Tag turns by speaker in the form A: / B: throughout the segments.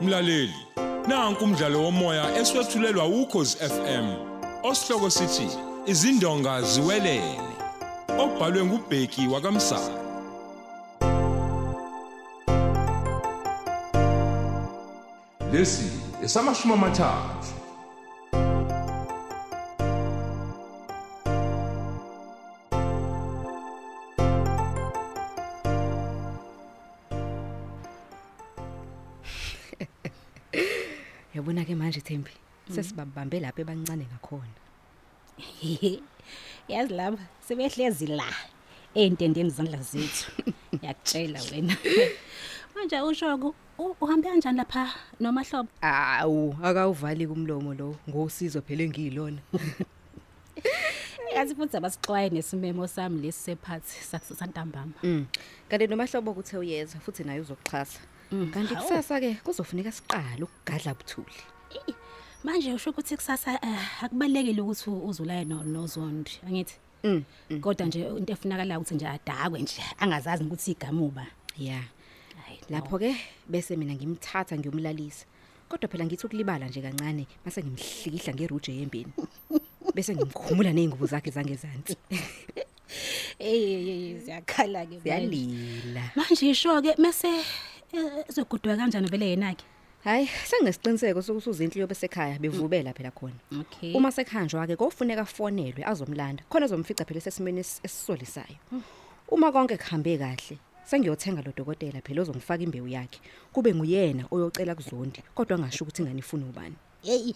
A: Mlaleli, nanku umdlalo womoya eswetshulelwa ukhozi FM. Osihloko sithi izindonga ziwelele. Obhalwe ngubheki wakamsana. Lesi esamashumi amathathu.
B: yabona ke manje Thembi sesibabambe lapha ebancane ngakhona
C: yazi laba sebehlezi la ey'ntendeni zandla zethu yakutshela wena manje ushoko u- uhambe kanjani lapha nomahlobo
B: awu akawuvali kumlomo lo ngosizo phela engiyilona
C: kazi Eh, futhi abasixwaye nesimemo sami lesi sephathi santambama
B: mm. kanti nomahlobo kuthe uyeza futhi naye uzokuxhasa
C: Mm,
B: kanti
C: hawu.
B: kusasa ke kuzofuneka siqale ukugadla buthuli
C: Eyi, manje usho ukuthi kusasa eh, akubalulekile ukuthi u- uzulaye no- nozondi angithi
B: mm.
C: kodwa nje into efunakalayo ukuthi nje adakwe nje angazazi ukuthi igamuba
B: ya lapho-ke bese mina ngimthatha ngiyomlalisa kodwa phela ngithi ukulibala nje kancane mase ngimhlikihla ngeruje yembeni bese ngimkhumula ney'ngubo zakhe zangezansi
C: eyeyeyi siyakhala ke manje.
B: ziyalila
C: manje isho-ke mese eh, ezogudwa kanjani vele yena-ke
B: hhayi senginesiqiniseko sokuthi uzinhle yobe sekhaya bevubela phela khona
C: okay
B: uma sekhanjwa-ke kofuneka afonelwe azomlanda khona ezomfica phela esesimeni esi- esisolisayo uma konke kuhambe kahle sengiyothenga lo dokotela phela ozongifaka imbewu yakhe kube nguyena oyocela kuzondi kodwa angasho ukuthi ingane ifuna ubani
C: heyi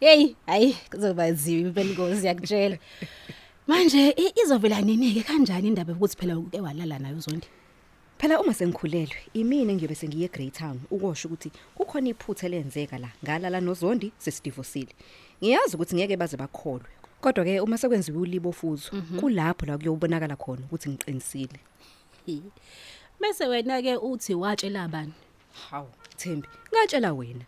C: heyi hhayi kuzoba nzima impela inkosi yakutshela manje i- izovela nini-ke kanjani indaba yokuthi phela uke walala nayo uzondi
B: phela uma sengikhulelwe imini engiyobe sengiye egreytown ukosho ukuthi kukhona iphutha elenzeka la ngalala nozondi sesidivosile ngiyazi ukuthi ngeke baze bakholwe kodwa-ke uma sekwenziwe ulibo fuzo kulapho la kuyobonakala khona ukuthi ngiqinisile
C: bese wena-ke uthi watshela abani
B: hawu thembi ngatshela wena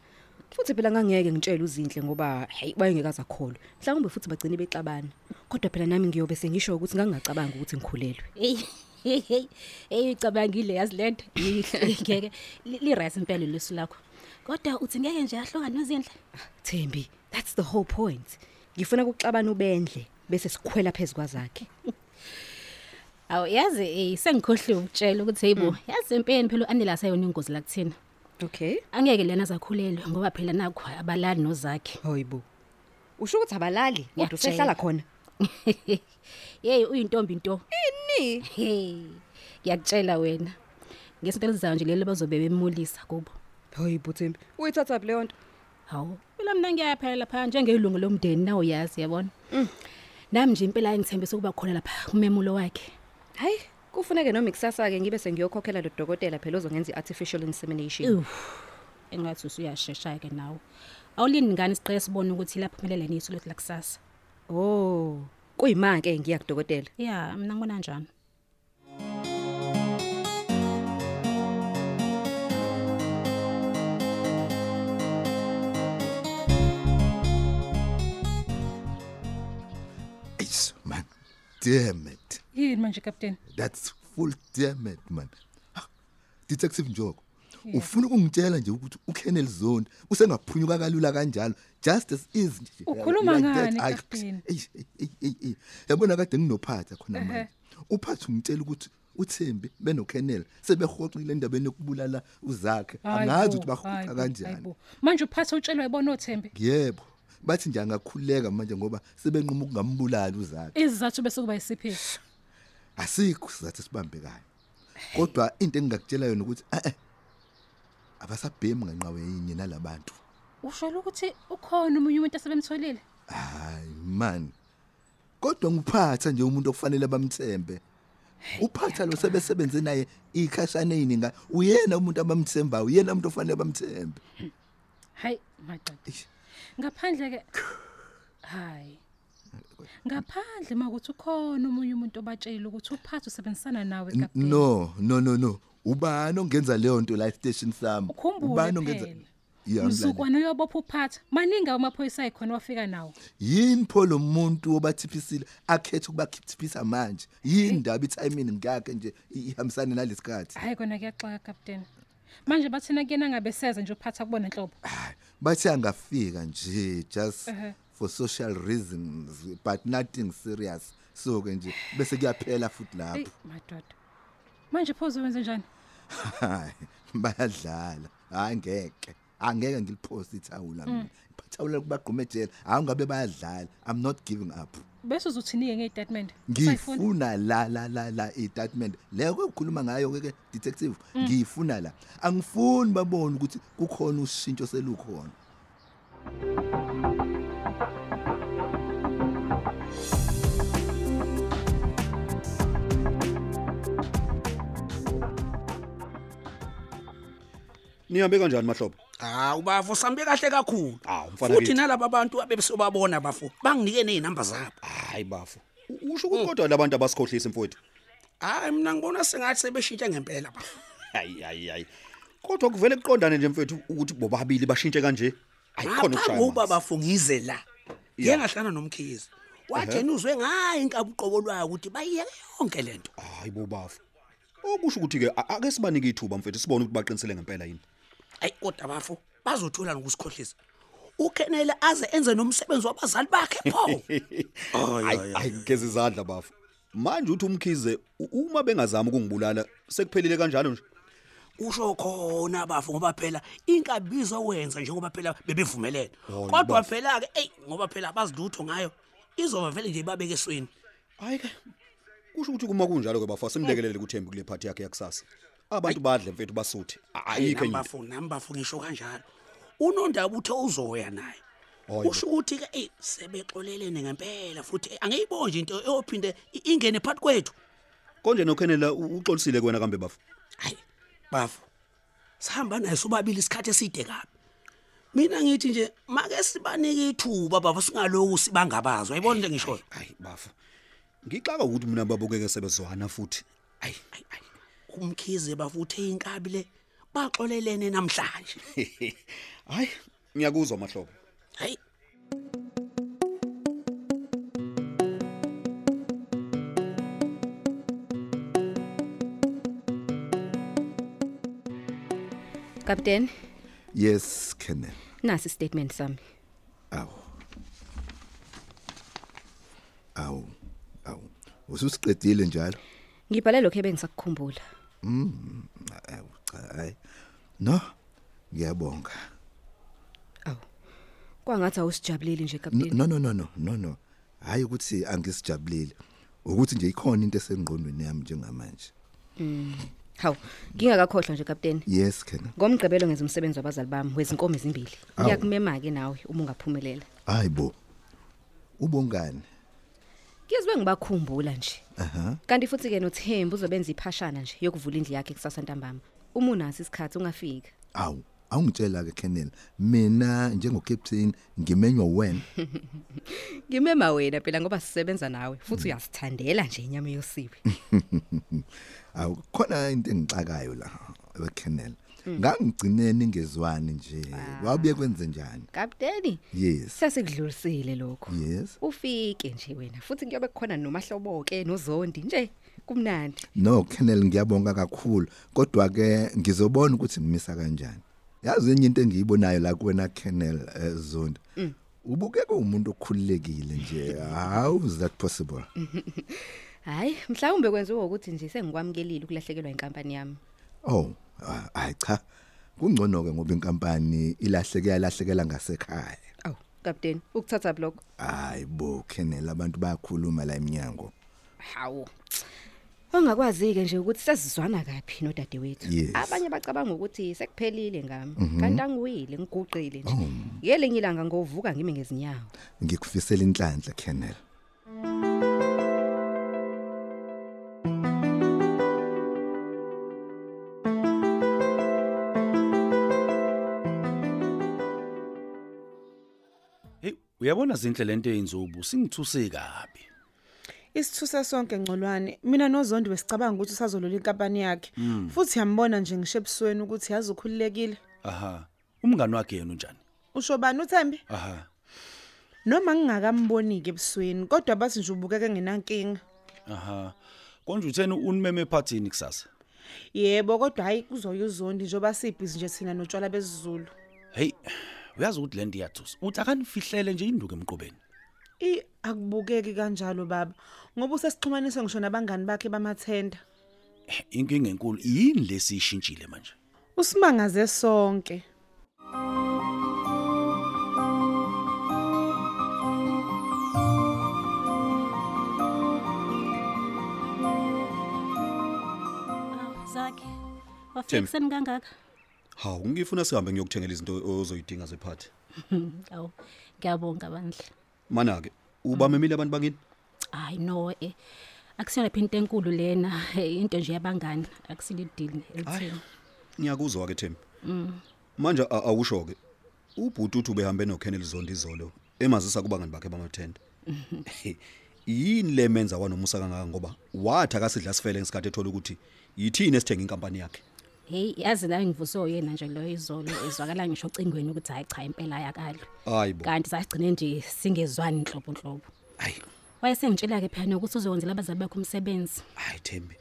B: futhi phela ngangeke ngitshele uzinhle ngoba hayi bayengekaze akholwe mhlawumbe futhi bagcine bexabana kodwa phela nami ngiyobe sengisho ukuthi ngangingacabangi ukuthi ngikhulelwe
C: heyi heyi heyi heyi icabangile yazi le nto ngeke li-right impela lesu lakho kodwa uthi ngeke nje ahlukane nozinhle
B: thembi that's the whole point ngifuna ukuxabana ubendle bese sikhwela phezu kwazakhe
C: awu yazi eh, sengikhohliwe ukutshela ukuthi heyi bo yazi empeni phela u-anela asayona ingozi la kuthina
B: okay
C: angeke lena azakhulelwe ngoba phela nakho abalali nozakhe
B: hoyibo usho ukuthi abalali kodwa
C: Ngiyakutshela.
B: usehlala khona
C: yeyi uyintombi nto
B: ini
C: hey ngiyakutshela wena ngesinto elizayo nje lelo bazobe bemulisa kubo
B: hoyibo thembi uyithathaphi leyo nto
C: hawu phela mna ngiyaphela lapha njengelungu lomndeni nawo yazi yabona nami nje impela engithembise ukuba khona lapha kumemulo wakhe
B: hhayi kufuneke noma ikusasa-ke ngibe sengiyokhokhela lo dokotela phela ozongenza i-artificial insemination
C: Ewu, engathi usuyashesha-ke nawe awulini ngani isiqeke sibone ukuthi lapho phumelele niyiso lokuthi lakusasa
B: oh kuyima-ke ngiya kudokotela
C: ya mna ngibona njani
D: Eish man. Damn it.
E: yini manje kapteni
D: That's full damn it man. Ha, Detective Njoko. Ufuna ukungitshela nje ukuthi uKenneth Zondi usengaphunyuka kalula kanjalo just as is nje.
E: Ukhuluma
D: Like that,
E: ngani,
D: I-
E: Captain?
D: Eish, ey, ey, ey, ey. Yabona kade nginophatha khona manje. Uphatha ungitshela ukuthi uThembi benoKenneth sebehoxile endabeni yokubulala uzakhe. Angazi ukuthi bahoxa kanjani.
E: manje uphatha utshelwe yibona othembe
D: Yebo. Bathi nje angakhuleka manje ngoba sebenquma ukungambulali uzakhe.
E: izizathu bese kuba yisiphi
D: asikho sizathu sibambekayo kodwa into engingakutshela yona ukuthi eh abasabhemi ngenqawe yinye nalabantu
E: usholo ukuthi ukhona omunye umuntu asebemtholile
D: hayi man kodwa ngiphatha nje umuntu okufanele bamthembe uphatha lo sebesebenze naye ikhashana eyininga uyena umuntu abamthembayo uyena umuntu ofanele bamthembe
E: hayi maxaxa
D: Eish.
E: ngaphandle-ke hayi ngaphandle ma ukuthi ukhona omunye umuntu obatshelile ukuthi uphathe usebenzisana nawe
D: N-
E: kapteni
D: no no no no ubani ongenza leyo nto la station sami
E: ukhumbule phela
D: Yeah, ngimlandela.
E: mzukwane uyobopha uphatha maningi amaphoyisa ayikhona wafika nawo
D: yini pho lo muntu obathiphisile akhethe ukubakhiphisa manje yini ndaba itiming ngakhe nje i- ihambisane nalesikhathi
E: hayi kona kuyaxaka kapteni manje bathina kuyena ngabe seza nje uphatha kubona inhlobo
D: Hayi, bathi angafika nje just
E: Ehhe.
D: for social reasons but nothing serious so ke nje bese kuyaphela futhi
E: eyi
D: lapho
E: madoda manje pho uzowenze njani
D: Hayi, bayadlala hayi ngeke angeke ngiliphoste ithawula mina ithawula kubagqume ejele hayi ngabe bayadlala i'm not giving up
E: bese uzothini-ke ngey'tatimende
D: ngifuna la la la la i-statement leyo kukhuluma ngayo ke detective ngifuna la angifuni babone ukuthi kukhona ushintsho selukhona
F: nihambe kanjani mahlobo
G: hawu bafo sambe kahle kakhulu
F: Hawu, mfana
G: futhi
F: kithi.
G: nalaba bantu abebesobabona bafo banginike ney'namba zabo
F: hayi bafo U- usho ukuthi kodwa labantu abasikhohlisi mfowethu
G: hhayi mna ngibona sengathi sebeshintshe ngempela bafo
F: hayi hayi hayi kodwa kuvele kuqondane nje mfowethu ukuthi bobabili bashintshe kanje ayikhona
G: ngaphangokuba
F: ukushaya
G: bafo ngize la
F: Ya.
G: ye ngahlala nomkhizi wathena uzwe ngayo inkabi uqobo lwayo ukuthi bayiyeke yonke le nto
F: hayi bo bafo okusho ukuthi ke a- ake sibanike ithuba mfowethu sibone ukuthi baqinisele ngempela yini
G: hayi kodwa bafo bazothola nokusikhohlisa ukenele aze enze nomsebenzi wabazali bakhe pho
F: Hayi, hayi ngeze izandla bafo manje uthi umkhize u- uma bengazama ukungibulala sekuphelile kanjalo nje
G: usho khona bafo ngoba phela inkabi izowenza njengoba phela bebevumelene
F: Oh,
G: kodwa
F: bafo.
G: phela-ke eyi ngoba phela abazilutho ngayo izoba vele nje ibabeke esweni
F: hayi ke kusho ukuthi kuma kunjalo ke bafo asimlekelele kuthembi kule phathi yakhe yakusasa abantu badle mfethu basuthi ayikho enye into.
G: nambafo nambafo ngisho kanjalo unondaba uthe uzoya naye
F: Hhayi bo.
G: kusho ukuthi-ke eyi sebexolelene ngempela futhi angeyiboni nje into eyophinde i- ingene phakathi kwethu
F: konje nokhenela u- uxolisile kwena kambe bafo
G: hayi bafo sihamba naye sobabili isikhathi eside kabi mina ngithi nje make sibanike ithuba bafo singalokhu sibangabazi ayibona into engishoyo
F: hayi bafo ngixaka ukuthi mina babukeke sebezwana futhi ayi
G: Ayi, ayi. umkhize bafo uthe inkabi le baxolelene namhlanje
F: hayi ngiyakuzwa mahlobo
G: hayi
B: Captain,
D: yes kennel
B: nasi statement sami.
D: awu awu awu ususiqedile njalo
B: Ngibhale lokho ebengisakukhumbula.
D: awu cha hayi no ngiyabonga
B: Awu. Kwangathi awusijabuleli nje
D: N-
B: Captain.
D: no no no no no no hayi ukuthi angisijabulile ukuthi nje ikhona into esengqondweni yami njengamanje
B: Hawu, ngingakakhohlwa nje Captain.
D: yes kennel
B: Ngomgqibelo ngenza umsebenzi wabazali bami wezinkomo ezimbili. Ngiyakumema ke nawe uma ungaphumelela.
D: hayibo ubongani
B: Ngizwe ngibakhumbula nje.
D: aha
B: Kanti futhi ke noThembu uzobenza iphashana nje yokuvula indlu yakhe kusasa ntambama. Uma unasi isikhathi ungafika.
D: awu awungitshela ke kennel mina njengocaptain ngimenywa wena
B: Ngimema wena phela ngoba sisebenza nawe futhi uyasithandela nje inyama yosiwe.
D: awu khona into engixakayo la wekennel ngangigcine ningezwani nje wabuye kwenze njani
B: Captain,
D: yes
B: sesikudlulisile lokho.
D: yes
B: Ufike nje wena futhi kuyobe kukhona nomahlobo ke nozondi nje kumnandi.
D: no kennel ngiyabonga kakhulu kodwa ke ngizobona ukuthi ngimisa kanjani yazi enye into engiyibonayo la kuwena kennel eh, zondi ubukeke umuntu okhululekile nje how is that possible
B: Hayi, mhlawumbe kwenziwe ukuthi nje sengikwamukelile ukulahlekelwa inkampani yami.
D: oh ah, hayi cha kungcono ke ngoba inkampani ilahleke yalahlekela ngasekhaya
B: Aw, Captain, ukuthatha blog.
D: hayi bo kennel abantu bayakhuluma la eminyango
B: Hawu. Ongakwazi ke nje ukuthi sesizwana kapi nodadewethu.
D: Yes.
B: Abanye bacabanga ukuthi sekuphelile ngami. Kanti angiwile ngiguqile nje. Yele ngilanga ngovuka ngime ngezinyawo.
D: ngikufisela inhlanhla kennel
H: Hey, uyabona zinhle lento eyinzubu, singithuse kabi.
I: Isithusa sonke ngcolwane. Mina noZondi besicabanga ukuthi usazolola inkampani yakhe. Futhi yambona nje ngisho ebusweni ukuthi yazi ukhululekile.
H: Aha. Umngani wakhe yena unjani?
I: Usho bani uThembi?
H: Aha.
I: Noma ngingakamboniki ebusweni, kodwa bathi nje ubukeke ngenankinga.
H: Aha. Konje utheni unimeme ephathini kusasa?
I: yebo kodwa hayi kuzoya uzondi njengoba sibhizi nje thina notshwala besizulu
H: hey uyazi ukuthi lento iyathusa uthi akanifihlele nje induku emqubeni
I: i akubukeki kanjalo baba ngoba usesixhumanise ngisho nabangani bakhe bamathenda
H: inkinga enkulu yini lesishintshile manje
I: usimangaze sonke
C: Zakhe.
F: Thembi.
C: Wafikseni kangaka?
F: hawu ngifuna sihambe ngiyokuthengela izinto ozoyidinga zephathi
C: Awu. Ngiyabonga bandla.
F: mana-ke ubamemile abantu bakini
C: Hayi no eh. Akusiyona phini into enkulu lena, eh, into nje yabangani, akusile idili elithini.
F: ngiyakuzwa-ke thembi manje a- awusho-ke ubhuti uthi ubehambe nokenel zondo izolo emazisa kubangani bakhe bamathenda yini le menza wanomusa kangaka ngoba wathi akasidla sifele ngesikhathi ethola ukuthi yithini esithenga inkampani yakhe
C: Hey, yazi la ngivuswe uyena nje loyo izolo ezwakala ngisho ocingweni ukuthi hayi cha impela yakalo.
F: hayi bo
C: Kanti sasigcine nje singezwani inhlobo inhlobo.
F: hayi
C: Wayesengitshela ke phela ukuthi uzokwenzela abazali bakhe umsebenzi.
F: hayi thembi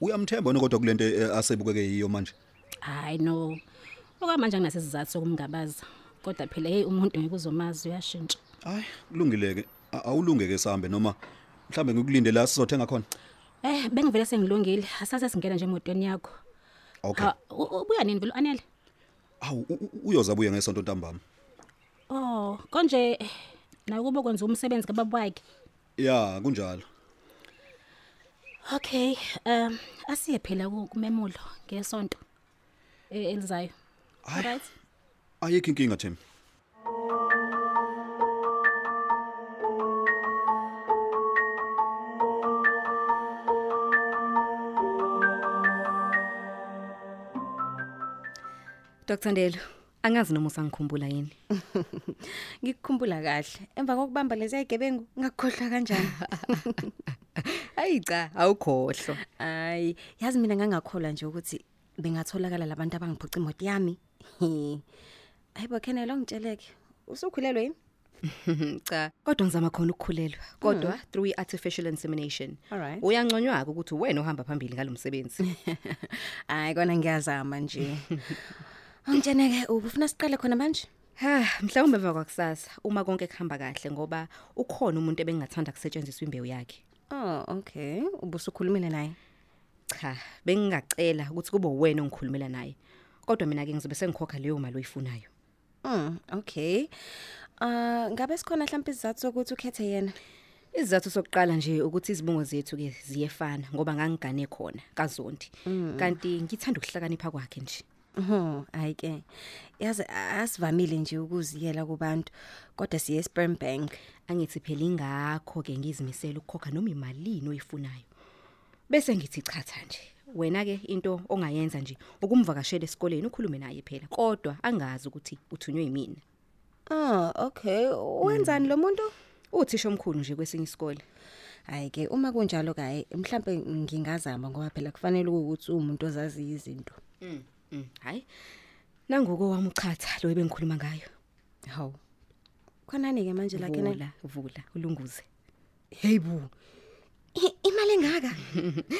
F: uyamthemba yena kodwa kule nto eh, asebukeke yiyo manje
C: Hayi no. Okwamanje angasizathu sokumngabaza. Kodwa phela hey umuntu ngeke uzomazi uyashintsha.
F: hayi kulungile-ke A- awulunge-ke sihambe noma mhlawumbe ngikulinde la sizothenga khona
C: Eh bengivele sengilungile. Asase singena nje emotweni yakho.
F: okay
C: Ha u- u- ubuya nini vele anele?
F: awu u- u- uyozabuya ngesonto ntambama
C: Oh, konje eh, naye kube kwenza umsebenzi kababa wakhe.
F: ya kunjalo
C: Okay, um asiye phela ku- kumemulo ngesonto eh, elizayo.
F: Hhayi.
C: Alright.
F: ayikho inkinga thembi
B: Dr Ndelo, angazi noma usangikhumbula yini.
J: Ngikukhumbula kahle. Emva kokubamba lezi zigebengu ngakukhohlwa kanjani?
B: Hayi cha, awukhohlwa.
J: Hayi, yazi mina ngangakholwa nje ukuthi bengatholakala labantu abangiphuca imoto yami. Hayi bo Kenelo ngitsheleke. Usukhulelwe yini?
B: Cha, kodwa ngizama khona ukukhulelwa. Kodwa through artificial insemination.
J: Alright.
B: Uyanconywa ukuthi wena ohamba phambili ngalomsebenzi.
J: Hayi kona ngiyazama nje. Ongitsheneke ukufuna siqale khona manje?
B: Ha, mhlawumbe emva kwakusasa uma konke kuhamba kahle ngoba ukhona umuntu ebengathanda kusetshenziswa imbewu yakhe.
J: Oh, okay. Ubusukhulumile naye.
B: Cha, bengingacela ukuthi kube wena ongikhulumela naye. Kodwa mina ke ngizobe sengikhokha leyo mali oyifunayo.
J: Mm, okay. Ah, ngabe sikhona mhlawumbe isizathu sokuthi ukhethe yena?
B: Isizathu sokuqala nje ukuthi izibongo zethu ke ziyefana ngoba ngangigane khona kazondi. Kanti ngithanda ukuhlakanipha kwakhe nje.
J: Mhm, hayi ke. Yazi a- asivamile nje ukuziyela kubantu, kodwa siye sperm bank.
B: Angithi phela ingakho ke ngizimisela ukukhokha noma imali oyifunayo. Bese ngithi chatha nje. Wena ke into ongayenza nje ukumvakashela esikoleni ukhulume naye phela. Kodwa angazi ukuthi uthunywe yimina.
J: Ah, okay. Wenzani lo muntu?
B: Uthisha omkhulu nje kwesinye isikole.
J: Hayi ke uma kunjalo kaye, mhlambe ngingazama ngoba phela kufanele ukuthi umuntu ozaziyo izinto.
B: Mm, hayi. Nanguko wami uchatha lo ebengikhuluma ngayo.
J: Hawu. Khonani ke manje la kena.
B: Vula, vula, ulunguze.
J: Hey bu. I- Imali engaka?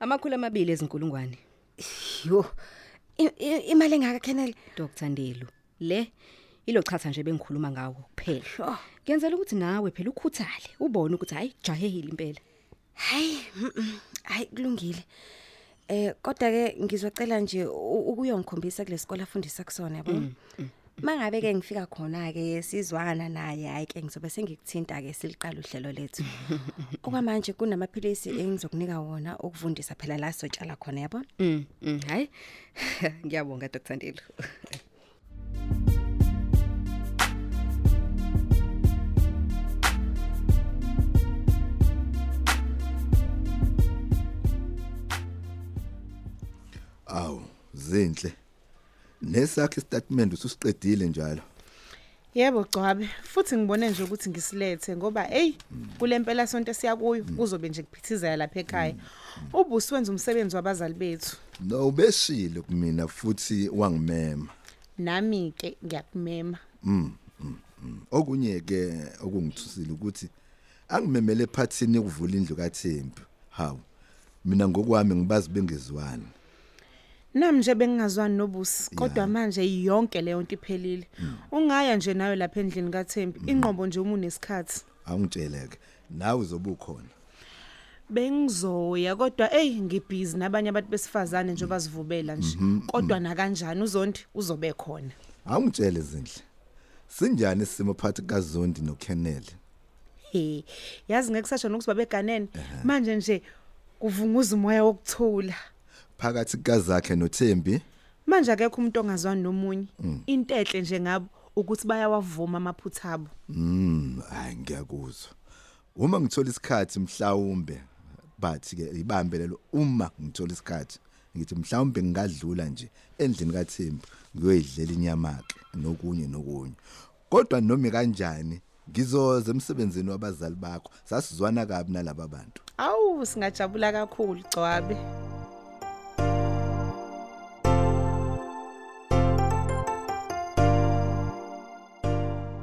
B: Amakhulu amabili ezinkulungwane.
J: Yo. I- i- Imali engaka Kenel?
B: Dr Ndelu. Le ilo chatha nje bengikhuluma ngawo kuphela. Ngenzela ukuthi nawe phela ukhuthale, ubone ukuthi hayi jahehile impela.
J: Hayi, mm, mm, hayi kulungile. Eh kodwa ke ngizocela nje u- ukuyongikhombisa kulesikole afundisa kusona
B: Mm,
J: yabo. Mangabe ke ngifika khona ke sizwana naye hayi ke ngizobe sengikuthinta ke siliqala uhlelo lethu. Okwamanje kunamaphilisi engizokunika wona okuvundisa phela la sotshala khona yabo.
B: Mm, mm, hayi. Ngiyabonga Dr Ndelu.
D: Awu, zinhle. Nesakhe istatement ususiqedile njalo.
I: yebo gcwabe futhi ngibone nje ukuthi ngisilethe ngoba eyi kule mpela sonto esiyakuyo kuzobe nje kuphithizela lapha ekhaya
J: Mm.
I: ubusi wenza umsebenzi wabazali bethu
D: No ubeshilo kumina futhi wangimema.
I: nami-ke ngiyakumema
D: Okunye ke okungithusile ukuthi angimemele ephathini ukuvula indlu kaThembi. Hawu. Mina ngokwami ngibazi bengezwani.
I: nami nje bengingazwani nobusi kodwa manje yonke leyo nto iphelile
D: Mm.
I: ungaya nje nayo lapha endlini kaThembi inqobo nje uma unesikhathi
D: awungitsheleke nawe uzobe ukhona
I: bengizoya kodwa hey ngibhizi nabanye abantu besifazane nje bazivubela nje
D: Mhm,
I: kodwa na kanjani uzondi uzobe khona
D: awungitshele zindle sinjani isimo phakathi kaZondi noKennel
I: he yazi ngeke sasho nokuthi babeganene manje nje kuvunguza umoya wokuthula
D: phakathi kaZakhe noThembi
I: manje akekho umuntu ongazwani nomunye
D: Mm.
I: into enhle nje ngabo ukuthi bayawavuma amaphutha abo
D: Mm, hayi ngiyakuzwa. Uma ngithola isikhathi mhlawumbe but ke ibambe lelo uma ngithola isikhathi ngithi mhlawumbe ngingadlula nje endlini kaThembu ngiyoyidlela inyamakhe nokunye nokunye. Kodwa noma kanjani ngizoze emsebenzini wabazali bakho sasizwana kabi nalabo bantu.
I: awu singajabula kakhulu gcwabe